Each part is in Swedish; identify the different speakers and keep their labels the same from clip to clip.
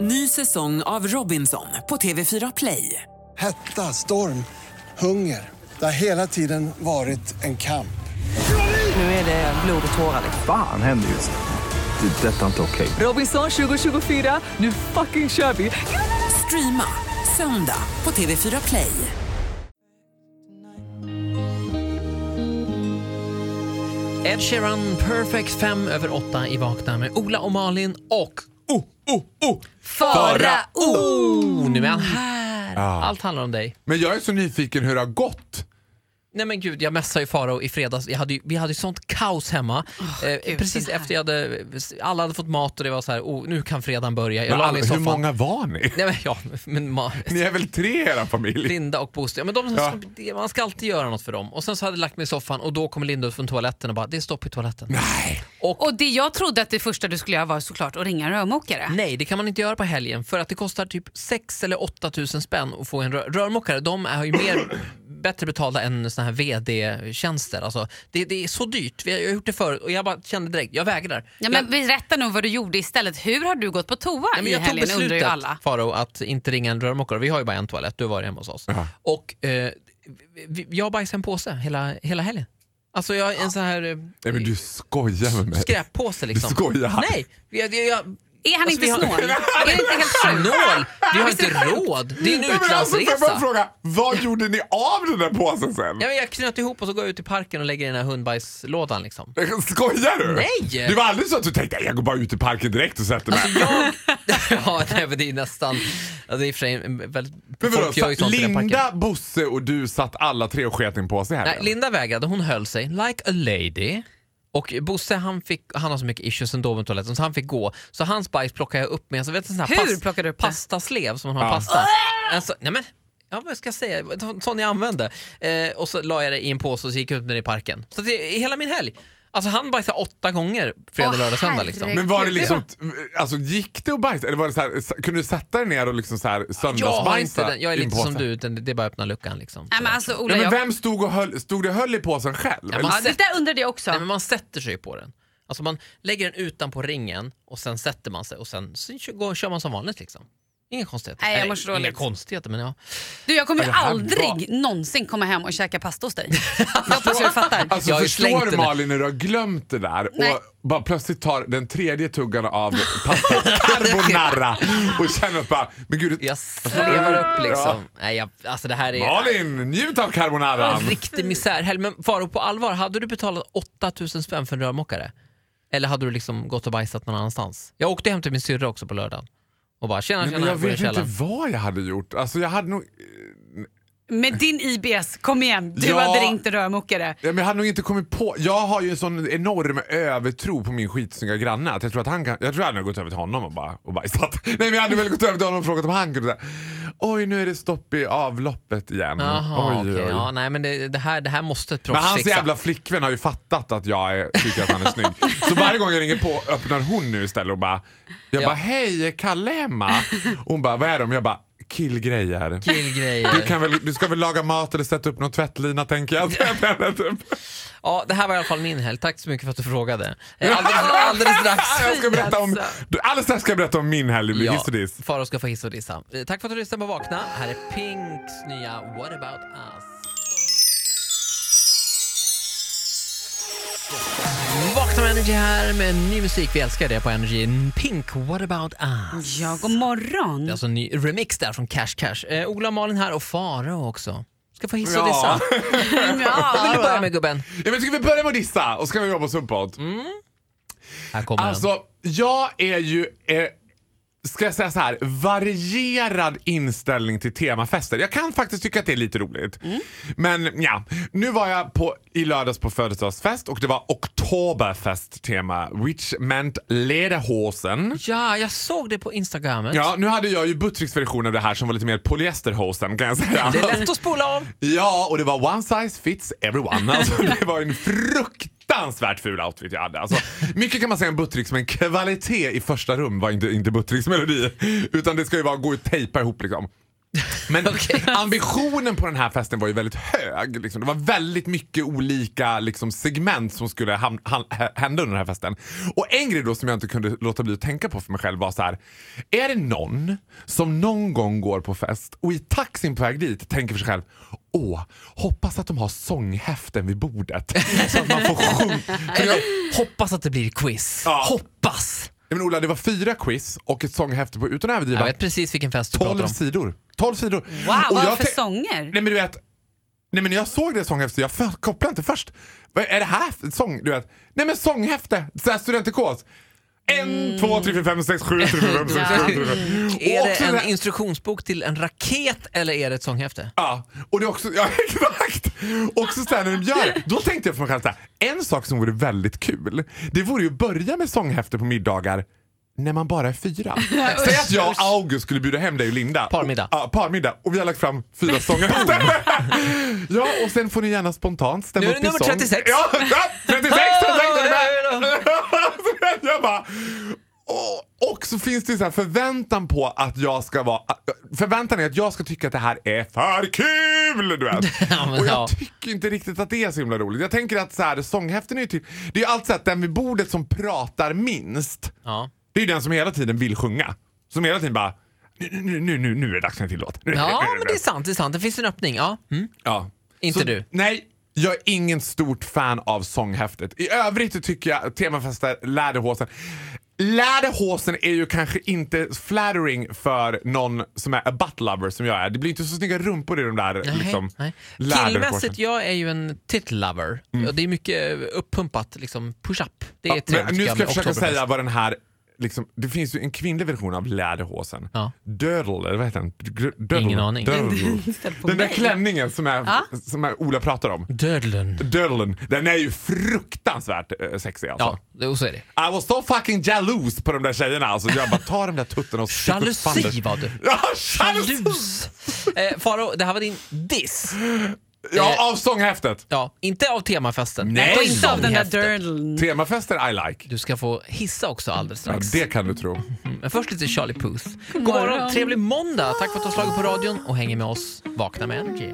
Speaker 1: Ny säsong av Robinson på TV4 Play.
Speaker 2: Hetta, storm, hunger. Det har hela tiden varit en kamp.
Speaker 1: Nu är det blod och tårar.
Speaker 3: Fan händer just nu. Det. är Detta är inte okej.
Speaker 1: Robinson 2024, nu fucking kör vi! Streama söndag på TV4 Play.
Speaker 4: Ed Sheeran, Perfect fem över åtta i Vakna med Ola och Malin och oh, oh, oh, oh, Nu är han här.
Speaker 5: Ah.
Speaker 4: Allt handlar om dig.
Speaker 5: Men jag är så nyfiken hur det har gått.
Speaker 4: Nej men gud, jag messade ju Faro i fredags. Jag hade ju, vi hade ju sånt kaos hemma. eh, precis
Speaker 6: den här.
Speaker 4: efter jag hade, alla hade fått mat och det var så här, oh, nu kan fredagen börja. Jag
Speaker 5: Men
Speaker 4: la
Speaker 5: alla-
Speaker 4: mig i
Speaker 5: hur
Speaker 4: soffan.
Speaker 5: många var ni?
Speaker 4: Nej men ja, men ma-
Speaker 5: Ni är väl tre i era familj?
Speaker 4: Linda och Boström. Ja, men de,
Speaker 5: Ja.
Speaker 4: det- Man ska alltid göra något för dem. Och sen så hade jag lagt mig i soffan och då kom Linda ut från toaletten och bara, det är stopp i toaletten.
Speaker 5: Nej.
Speaker 6: Och det jag trodde att det första du skulle göra var såklart att ringa en rörmokare.
Speaker 4: Nej, det kan man inte göra på helgen för att det kostar typ 6 eller 8 000 spänn att få en rör- rörmokare. De är ju mer, bättre betalda än såna här VD-tjänster. Alltså, det, det är så dyrt. Vi har- Jag har gjort det förut och jag bara kände direkt, jag vägrar.
Speaker 6: Ja,
Speaker 4: jag,
Speaker 6: men berätta nu vad du gjorde istället. Hur har du gått på toa
Speaker 4: Nej, men
Speaker 6: i
Speaker 4: jag tog
Speaker 6: helgen undrar ju
Speaker 4: beslutet,
Speaker 6: alla.
Speaker 4: Faro, att inte ringa en rörmokare. Vi har ju bara en toalett, du har varit hemma hos oss.
Speaker 5: Jaha.
Speaker 4: Och eh, vi- jag bajsade i en påse hela, hela helgen. Alltså jag en sån här eh,
Speaker 5: Nej men du skojar med mig.
Speaker 4: skräppåse liksom.
Speaker 5: Du skojar.
Speaker 4: Nej, jag, jag, jag,
Speaker 6: Är han
Speaker 4: Alltså,
Speaker 6: inte
Speaker 4: vi har-
Speaker 6: snål? är det inte helt sjukt?
Speaker 4: Nål! Vi har inte råd. Det är en
Speaker 5: Nej, men alltså, får jag bara
Speaker 4: utlandsresa.
Speaker 5: fråga, vad gjorde ni av den där påsen sen?
Speaker 4: Ja, men jag knöt ihop och så går jag ut i parken och lägger i den här hundbajslådan. Liksom.
Speaker 5: Skojar du?
Speaker 4: Nej. Alltså,
Speaker 5: Det var aldrig så att du tänkte jag går bara ut i parken direkt och sätter mig.
Speaker 4: Jag... ja, nej, men det är nästan... Ja, det är i och för sig en väldigt...
Speaker 5: Men vadå,
Speaker 4: folk gör ju
Speaker 5: satt
Speaker 4: sånt i den parken.
Speaker 5: Linda, Bosse och du satt alla tre och sket i en påse här?
Speaker 4: Nej, Linda vägrade. Hon höll sig like a lady. Och Bosse han, fick, han har så mycket issues ändå med toaletten så han fick gå. Så hans bajs plockade jag upp med alltså, vet, du, en sån här
Speaker 6: Hur plockade du upp det?
Speaker 4: pastaslev som man har
Speaker 5: Ja.
Speaker 4: pasta. Alltså, nej men, ja, vad ska jag säga? Så- Sån jag använde. Eh, och så la jag det i en påse och så gick jag ut med det i parken. Så det, hela min helg. Alltså han bajsade åtta gånger fredag,
Speaker 6: Åh,
Speaker 4: lördag, söndag. Liksom.
Speaker 6: herregud.
Speaker 5: Men var det liksom, alltså gick det att bajsa? Eller var det så här, kunde du sätta dig ner och liksom så här
Speaker 4: Jag har inte
Speaker 5: söndagsbajsa
Speaker 4: den. Jag är
Speaker 5: i en
Speaker 4: lite som
Speaker 5: påse?
Speaker 4: du, utan det det är bara att öppna luckan liksom.
Speaker 6: Nej, men alltså, Ola,
Speaker 5: Nej, men
Speaker 6: jag...
Speaker 5: vem stod och höll, stod och höll i påsen själv?
Speaker 4: Ja,
Speaker 5: Eller-
Speaker 6: ja, det där undrade jag också.
Speaker 4: Nej, men man sätter sig ju på den. Alltså man lägger den utanpå ringen och sen sätter man sig och sen, sen kö- går, kör man som vanligt liksom. Inga konstigheter.
Speaker 6: Nej, jag
Speaker 4: Eller,
Speaker 6: mår så
Speaker 4: Inga
Speaker 6: dåligt.
Speaker 4: konstigheter men ja.
Speaker 6: Du, jag kommer ju
Speaker 4: Alltså,
Speaker 5: det här
Speaker 6: aldrig
Speaker 5: var-
Speaker 6: någonsin komma hem och käka pasta hos dig. Jag hoppas du fattar.
Speaker 5: Alltså
Speaker 4: Jag har ju slängt
Speaker 5: förstår du
Speaker 4: den här.
Speaker 5: Malin när du har glömt det där
Speaker 6: Nej.
Speaker 5: och bara plötsligt tar den tredje tuggan av pasta carbonara och känner att bara, men gud,
Speaker 4: Jag slevar upp liksom. Nej, jag, alltså det här är
Speaker 5: Malin njut av carbonaran.
Speaker 4: en riktig misärhelg. Men Faro på allvar, hade du betalat 8000 spänn för en rörmokare? Eller hade du liksom gått och bajsat någon annanstans? Jag åkte hem till min syrra också på lördagen och bara tjena
Speaker 5: Nej,
Speaker 4: tjena,
Speaker 5: men jag
Speaker 4: går i
Speaker 5: vet inte
Speaker 4: källaren.
Speaker 5: vad jag hade gjort. Alltså jag hade nog,
Speaker 6: Med din IBS, kom igen. Du
Speaker 5: Ja.
Speaker 6: hade ringt en rörmokare.
Speaker 5: ja, men jag hade nog inte kommit på, jag har ju en sån enorm övertro på min skitsnygga granne att jag tror att han kan, jag tror jag hade gått över till honom och bara och bajsat. Nej men jag hade väl gått över till honom och frågat om han kunde säga, oj nu är det stopp i avloppet igen.
Speaker 4: Jaha,
Speaker 5: oj,
Speaker 4: okej.
Speaker 5: oj.
Speaker 4: Ja, nej men det, det, här, det här måste ett proffs
Speaker 5: Men hans
Speaker 4: fixa.
Speaker 5: jävla flickvän har ju fattat att jag är, tycker att han är snygg. Så varje gång jag ringer på öppnar hon nu istället och bara Jag
Speaker 4: Ja.
Speaker 5: bara hej, är Kalle hemma? Och Hon bara vad är de? Jag bara killgrejer.
Speaker 4: Killgrejer.
Speaker 5: Du, kan väl, du ska väl laga mat eller sätta upp någon tvättlina tänker jag. typ.
Speaker 4: Ja, det här var i alla fall min helg. Tack så mycket för att du frågade. Eh, Alldeles, alldeles strax. Alltså.
Speaker 5: jag ska berätta om, du, alldeles strax ska jag berätta om min helg. Ja. Hiss och diss.
Speaker 4: Faro ska få hiss och dissa. Eh, Tack för att du lyssnade på Vakna. Här är Pinks nya What about us? Vakna med Energy här med ny musik. Vi älskar det på Energy. Pink, What about us?
Speaker 6: Ja, god morgon.
Speaker 4: Det är alltså en ny remix där från Cash Cash. Eh, Ola och Malin här och Faro också. Ska få hiss och
Speaker 5: Ja.
Speaker 4: dissa. Vill du
Speaker 6: Ja.
Speaker 4: börja med gubben?
Speaker 5: Ja, men ska vi börja med att dissa och ska vi jobba oss uppåt?
Speaker 4: Mm. Här kommer den.
Speaker 5: Mm. Alltså, jag är ju... Eh, Ska jag säga så här, varierad inställning till temafester. Jag kan faktiskt tycka att det är lite roligt.
Speaker 4: Mm.
Speaker 5: Men ja, nu var jag på, i lördags på födelsedagsfest och det var Oktoberfest-tema. Which meant lederhosen.
Speaker 4: Ja, jag såg det på Instagramet.
Speaker 5: Ja, nu hade jag ju Buttricks version av det här som var lite mer polyesterhosen kan jag säga.
Speaker 4: Det är lätt att spola av.
Speaker 5: Ja, och det var one size fits everyone. Alltså, det var en fruktansvärt ful outfit jag hade. Alltså, mycket kan man säga om Buttericks, men kvalitet i första rum var inte, inte Buttericks melodi. Utan det ska ju vara gå och tejpa ihop liksom. Men ambitionen på den här festen var ju väldigt hög. Liksom. Det var väldigt mycket olika liksom, segment som skulle ham- han- hä- hända under den här festen. Och en grej då som jag inte kunde låta bli att tänka på för mig själv var så här. Är det någon som någon gång går på fest och i taxin på väg dit tänker för sig själv Åh, hoppas att de har sånghäften vid bordet så att man får sjunga. För jag-
Speaker 4: Hoppas att det blir quiz.
Speaker 5: Ja.
Speaker 4: Hoppas!
Speaker 5: Nej, Men Ola, det var fyra quiz och ett sånghäfte på, utan att
Speaker 4: Jag
Speaker 5: överdriva,
Speaker 4: vet precis vilken fest du pratar
Speaker 5: 12
Speaker 4: om.
Speaker 5: sidor. 12 sidor.
Speaker 6: Wow, vad är det
Speaker 5: jag
Speaker 6: för
Speaker 5: tän-
Speaker 6: sånger?
Speaker 5: Nej men du vet, nej men när jag såg det sånghäftet, jag för- kopplade inte först. Vad är det här för sång? Du vet, nej men sånghäfte, så här studentikos. En, två, tre, fyra, fem, sex, sju, tre, fyra, fem, sex, sju, tre, fyra, fem.
Speaker 4: Är
Speaker 5: Och
Speaker 4: det
Speaker 5: också
Speaker 4: en
Speaker 5: det här-
Speaker 4: instruktionsbok till en raket eller är det ett sånghäfte?
Speaker 5: Ja, och det är också, ja exakt! Också så här när de gör det, då tänkte jag för mig själv så här, en sak som vore väldigt kul, det vore ju att börja med sånghäfte på middagar när man bara är fyra. Säg att Alltså, jag och August skulle bjuda hem dig och Linda.
Speaker 4: Parmiddag.
Speaker 5: Ja, parmiddag. Och vi har lagt fram fyra sånghäften. ja, och sen får ni gärna spontant stämma
Speaker 4: Nu är
Speaker 5: upp
Speaker 4: det
Speaker 5: i
Speaker 4: nummer
Speaker 5: sång.
Speaker 4: 36.
Speaker 5: Ja, ja, 36! 36 jag bara... Och, och så finns det ju så här förväntan på att jag ska vara... Förväntan är att jag ska tycka att det här är för kul! Du vet.
Speaker 4: Ja, men
Speaker 5: och
Speaker 4: ja.
Speaker 5: jag tycker inte riktigt att det är så himla roligt. Jag tänker att så här, sånghäften är ju typ... Det är ju alltid så att den vid bordet som pratar minst,
Speaker 4: Ja.
Speaker 5: det är ju den som hela tiden vill sjunga. Som hela tiden bara... Nu, nu, nu, nu, nu är det dags för en till låt. Nu- nu-
Speaker 4: Ja,
Speaker 5: nu-
Speaker 4: men det är sant. Det är sant. Det finns en öppning. Ja. Mm.
Speaker 5: Ja.
Speaker 4: Inte du.
Speaker 5: Nej, jag är ingen stort fan av sånghäftet. I övrigt tycker jag att temafester Läderhosen. Läderhosen är ju kanske inte flattering för någon som är a butt lover som jag är. Det blir inte så snygga rumpor i de där liksom,
Speaker 4: nej.
Speaker 5: läderhosen.
Speaker 4: Killmässigt, jag är ju en titlover. Och det är mycket uppumpat, liksom push-up. Det är
Speaker 5: Mm. Ja,
Speaker 4: trevligt
Speaker 5: men
Speaker 4: tycker
Speaker 5: nu ska jag
Speaker 4: med
Speaker 5: försöka
Speaker 4: Oktoberfest.
Speaker 5: säga vad den här... Liksom, det finns ju en kvinnlig version av läderhosen.
Speaker 4: Ja.
Speaker 5: Dödel, eller vad heter den? Gr- dödel.
Speaker 4: Ingen aning.
Speaker 5: Dödel.
Speaker 6: Istället på
Speaker 5: Den där
Speaker 6: mig.
Speaker 5: klänningen som, är, som är Ola pratar om.
Speaker 4: Dödlen.
Speaker 5: Dödlen, den är ju fruktansvärt eh, sexig alltså.
Speaker 4: Ja, det- och så är det.
Speaker 5: I was so fucking jaloux på de där tjejerna. Alltså, jag bara, ta de där tuttarna och stick upp
Speaker 4: Jalusi
Speaker 5: fanders.
Speaker 4: var du.
Speaker 5: Ja, jalus!
Speaker 4: Jalus. Eh, Faro, det här var din diss.
Speaker 5: Ja, av sånghäftet.
Speaker 4: Ja, inte av temafesten.
Speaker 5: Nej.
Speaker 4: Och
Speaker 6: Inte av den där
Speaker 4: sånghäftet.
Speaker 6: dirlen.
Speaker 5: Temafester I like.
Speaker 4: Du ska få hissa också alldeles
Speaker 5: Ja,
Speaker 4: strax.
Speaker 5: det kan du tro.
Speaker 4: Men först lite Charlie Puth. God morgon.
Speaker 6: morgon.
Speaker 4: trevlig måndag. Tack för att du har slagit på radion och hänger med oss. Vakna med Energy.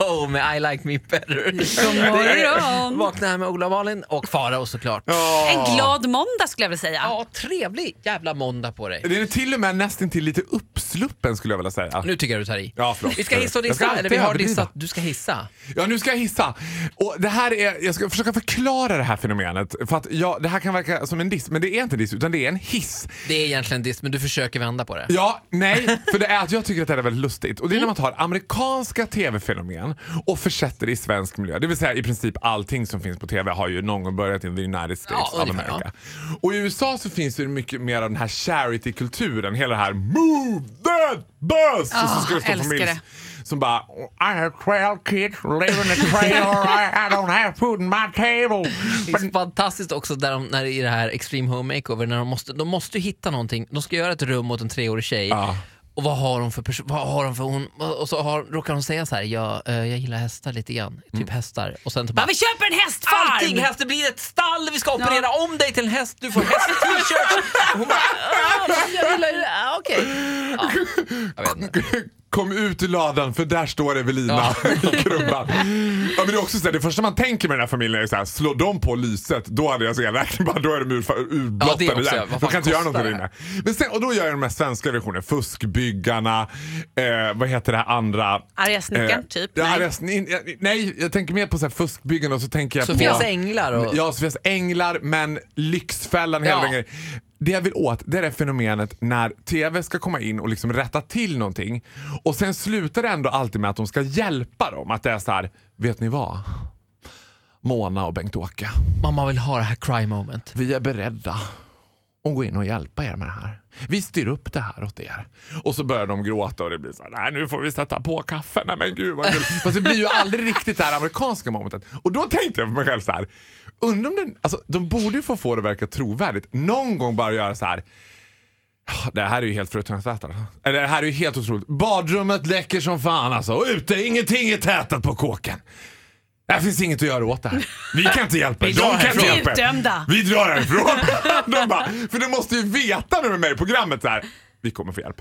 Speaker 4: Low med I like me better. God
Speaker 6: morgon.
Speaker 4: Vakna här med Ola Malin och Farao såklart. Ja.
Speaker 6: En glad måndag skulle jag vilja säga.
Speaker 4: trevlig jävla måndag på dig.
Speaker 5: Den är till och med nästan till lite uppsluppen skulle jag vilja säga.
Speaker 4: Nu tycker jag du tar i.
Speaker 5: Ja, förlåt.
Speaker 4: vi ska hissa och
Speaker 5: Jag ska
Speaker 4: dissa,
Speaker 5: alltid
Speaker 4: eller vi har
Speaker 5: överdriva.
Speaker 4: dissat. Du ska hissa.
Speaker 5: Ja, nu ska jag hissa. Och det här är, jag ska försöka förklara det här fenomenet. För att ja, det här kan verka som en diss, men det är inte en diss, utan det är en hiss.
Speaker 4: Det är egentligen diss, men du försöker vända på det.
Speaker 5: Ja, nej, för det är att jag tycker att det här är väldigt lustigt. Och det är
Speaker 4: Mm.
Speaker 5: när man tar amerikanska tv-fenomen och försätter det i svensk miljö. Det vill säga i princip allting som finns på tv har ju någon gång börjat in the United States
Speaker 4: Ja,
Speaker 5: of
Speaker 4: ungefär,
Speaker 5: America. Och i USA så finns det ju mycket mer av den här charity-kulturen. Hela det här move that bus! och så
Speaker 6: Ah,
Speaker 5: ska det stå en
Speaker 6: älskar
Speaker 5: familj
Speaker 6: det.
Speaker 5: Som bara I have 12 kids living in a trailer. I don't have food in my table.
Speaker 4: Det är fantastiskt också där de, när det är i det här Extreme Home Makeover, när de måste, de måste ju hitta någonting. De ska göra ett rum åt en treårig tjej.
Speaker 5: Ja.
Speaker 4: Och vad har hon för person? Vad har hon för hon? Och så har, råkar hon säga så här, ja, eh, jag gillar hästar lite grann. Typ
Speaker 5: Mm.
Speaker 4: hästar. Och sen typ
Speaker 6: Va,
Speaker 4: bara,
Speaker 6: vi köper en hästfarm!
Speaker 4: allting häst, det blir ett stall, vi ska operera om dig till en häst, du får häst-t-shirts. Och Hon bara, "Ah, jag gillar ju det, ah, okej.
Speaker 5: Kom ut ur ladan för där står Evelina i krubban. Ja, men det, är också så här, det första man tänker med den här familjen är så här, slå dem på lyset, då hade jag så elräkning bara, då är de ur, urblottade
Speaker 4: Ja, det är också,
Speaker 5: igen.
Speaker 4: vad
Speaker 5: De
Speaker 4: fan
Speaker 5: kan inte göra något
Speaker 4: kostar
Speaker 5: med det
Speaker 4: det här?
Speaker 5: inne. Men sen, och då gör jag de här svenska versionerna, Fuskbyggarna, eh, vad heter det här andra?
Speaker 6: Arga snickaren, typ?
Speaker 5: Nej.
Speaker 6: Nej.
Speaker 5: Arga, sn- nej, jag tänker mer på så här, Fuskbyggarna och så tänker jag
Speaker 4: Sofias
Speaker 5: på...
Speaker 4: änglar och-
Speaker 5: Ja, Sofias änglar, men Lyxfällan, hela
Speaker 4: Ja.
Speaker 5: den grejen. Det jag vill åt det är det fenomenet när TV ska komma in och liksom rätta till någonting och sen slutar det ändå alltid med att de ska hjälpa dem. Att det är så här, vet ni vad? Mona och Bengt-Åke,
Speaker 4: Mamma vill ha det här cry moment.
Speaker 5: vi är beredda att gå in och hjälpa er med det här. Vi styr upp det här åt er. Och så börjar de gråta och det blir så här, nej nu får vi sätta på kaffe, nej men gud vad kul. Fast det blir ju aldrig riktigt det här amerikanska momentet. Och då tänkte jag för mig själv så här, undrar om den, alltså de borde ju få få det att verka trovärdigt. Någon gång bara göra så här, "Ja, det här är ju helt fruktansvärt. alltså." Eller det här är ju helt otroligt. Badrummet läcker som fan alltså. Och ute, ingenting är tätat på kåken. Det finns inget att göra åt det här. Vi kan inte hjälpa er.
Speaker 4: Vi drar
Speaker 5: De kan inte
Speaker 4: härifrån.
Speaker 5: hjälpa
Speaker 6: Vi är utdömda.
Speaker 5: er. Vi drar härifrån. De bara, för du måste ju veta när de är med i programmet så här. Vi kommer få hjälp.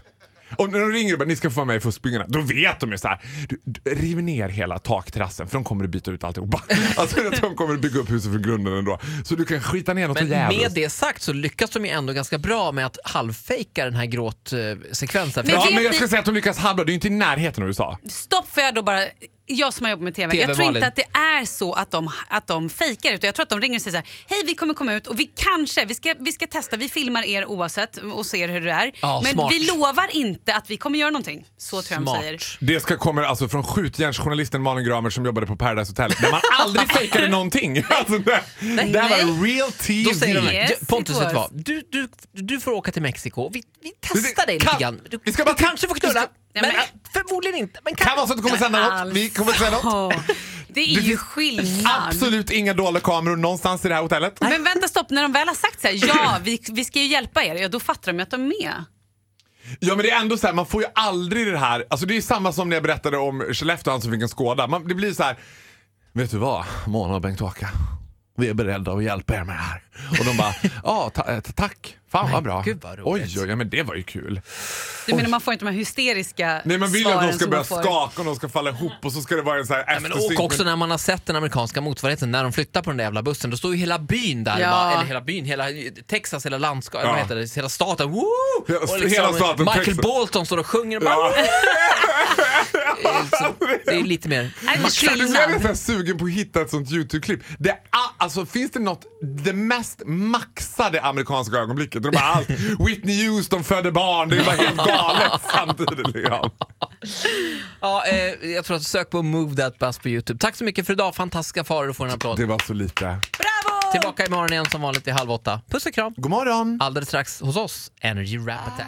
Speaker 5: Och när de ringer och bara, ni ska få vara med i Fuskbyggarna, då vet de ju så här. Du, du, riv ner hela takterrassen för de kommer att byta ut alltihopa. Alltså de kommer att bygga upp huset från grunden ändå. Så du kan skita ner något
Speaker 4: Men med
Speaker 5: jävligt.
Speaker 4: det sagt så lyckas de ju ändå ganska bra med att halvfejka den här gråtsekvensen.
Speaker 6: Men
Speaker 5: Ja,
Speaker 6: vet
Speaker 5: men jag
Speaker 6: ni-
Speaker 5: ska säga att de lyckas halva, det är ju inte i närheten av USA.
Speaker 6: Stopp för jag då bara, jag som har jobbat med TV, jag tror
Speaker 4: TV-valen.
Speaker 6: inte att det är så att de, att de fejkar utan jag tror att de ringer och säger så här, hej vi kommer komma ut och vi kanske, vi ska, vi ska testa, vi filmar er oavsett och ser hur det är.
Speaker 4: Ja,
Speaker 6: men
Speaker 4: smart.
Speaker 6: vi lovar inte att vi kommer göra någonting. Så tror jag de
Speaker 4: Smart.
Speaker 6: säger.
Speaker 5: Det ska kommer alltså från skjutjärnsjournalisten Malin Gramer som jobbade på Paradise Hotel där man aldrig fejkade någonting. Alltså det, det här
Speaker 6: nej.
Speaker 5: var real TV.
Speaker 4: Då säger de,
Speaker 6: Yes,
Speaker 4: "Du, Pontus
Speaker 6: it
Speaker 4: vet du
Speaker 6: was."
Speaker 4: vad, du, du, du får åka till Mexiko. Vi, vi
Speaker 5: Det-
Speaker 4: testar dig
Speaker 5: kan-
Speaker 4: lite grann. Du,
Speaker 5: vi ska
Speaker 4: du
Speaker 5: bara-
Speaker 4: kanske får knulla,
Speaker 5: vi ska-
Speaker 4: men,
Speaker 6: Nej, men-
Speaker 4: äh, förmodligen inte. Men
Speaker 5: Kan vara så att det kommer sända något. Vi kommer sända något.
Speaker 6: Åh, det är
Speaker 5: Det
Speaker 6: ju
Speaker 5: finns
Speaker 6: skillnad.
Speaker 5: Absolut inga dolda kameror någonstans i det här hotellet.
Speaker 6: Men vänta stopp, när de väl har sagt så här, ja vi, vi ska ju hjälpa er, ja, då fattar de ju att de är med.
Speaker 5: Ja men det är ändå så här, man får ju aldrig det här. Alltså det är ju samma som när jag berättade om Skellefteå och han som fick en skåda. Man, det blir så här. Vet du vad, Mona och Bengt-Åke. Vi är beredda att hjälpa er med det här. Och de bara, ja ta- eh, tack. Fan vad bra.
Speaker 4: gud, vad
Speaker 5: oj,
Speaker 4: roligt.
Speaker 5: oj, ja men det var ju kul.
Speaker 6: Du menar man får inte de här hysteriska
Speaker 5: Nej man vill ju att de
Speaker 6: svaren
Speaker 5: ska
Speaker 6: som
Speaker 5: börja
Speaker 6: man får.
Speaker 5: skaka och de ska falla ihop och så ska det vara en så här
Speaker 4: Men och
Speaker 5: eftersynk.
Speaker 4: också när man har sett den amerikanska motsvarigheten, när de flyttar på den där jävla bussen, då står ju hela byn där.
Speaker 6: Ja.
Speaker 4: Bara, eller hela byn, hela Texas, hela landskapet,
Speaker 5: Ja.
Speaker 4: vad heter det, hela staten. Woo! liksom
Speaker 5: Ja, hela staten
Speaker 4: Michael
Speaker 5: Texas.
Speaker 4: Bolton står och sjunger. Bara,
Speaker 5: Ja.
Speaker 4: det är liksom- det är lite mer...
Speaker 6: Nej, det är
Speaker 5: Nu blir jag
Speaker 6: skillnad.
Speaker 5: nästan sugen på att hitta ett sånt YouTube-klipp. Det, är a- alltså, finns det något, det mest maxade amerikanska ögonblicket? De bara allt, Whitney Houston födde barn, det är bara helt galet samtidigt. Liksom.
Speaker 4: Ja, eh, jag tror att sök på Move That Bus på Youtube. Tack så mycket för idag, fantastiska faror. Du får en applåd.
Speaker 5: Det var så lite.
Speaker 4: Tillbaka imorgon igen som vanligt i halv åtta. Puss och kram.
Speaker 5: God morgon!
Speaker 4: Alldeles strax hos oss, Energy Rap Attack.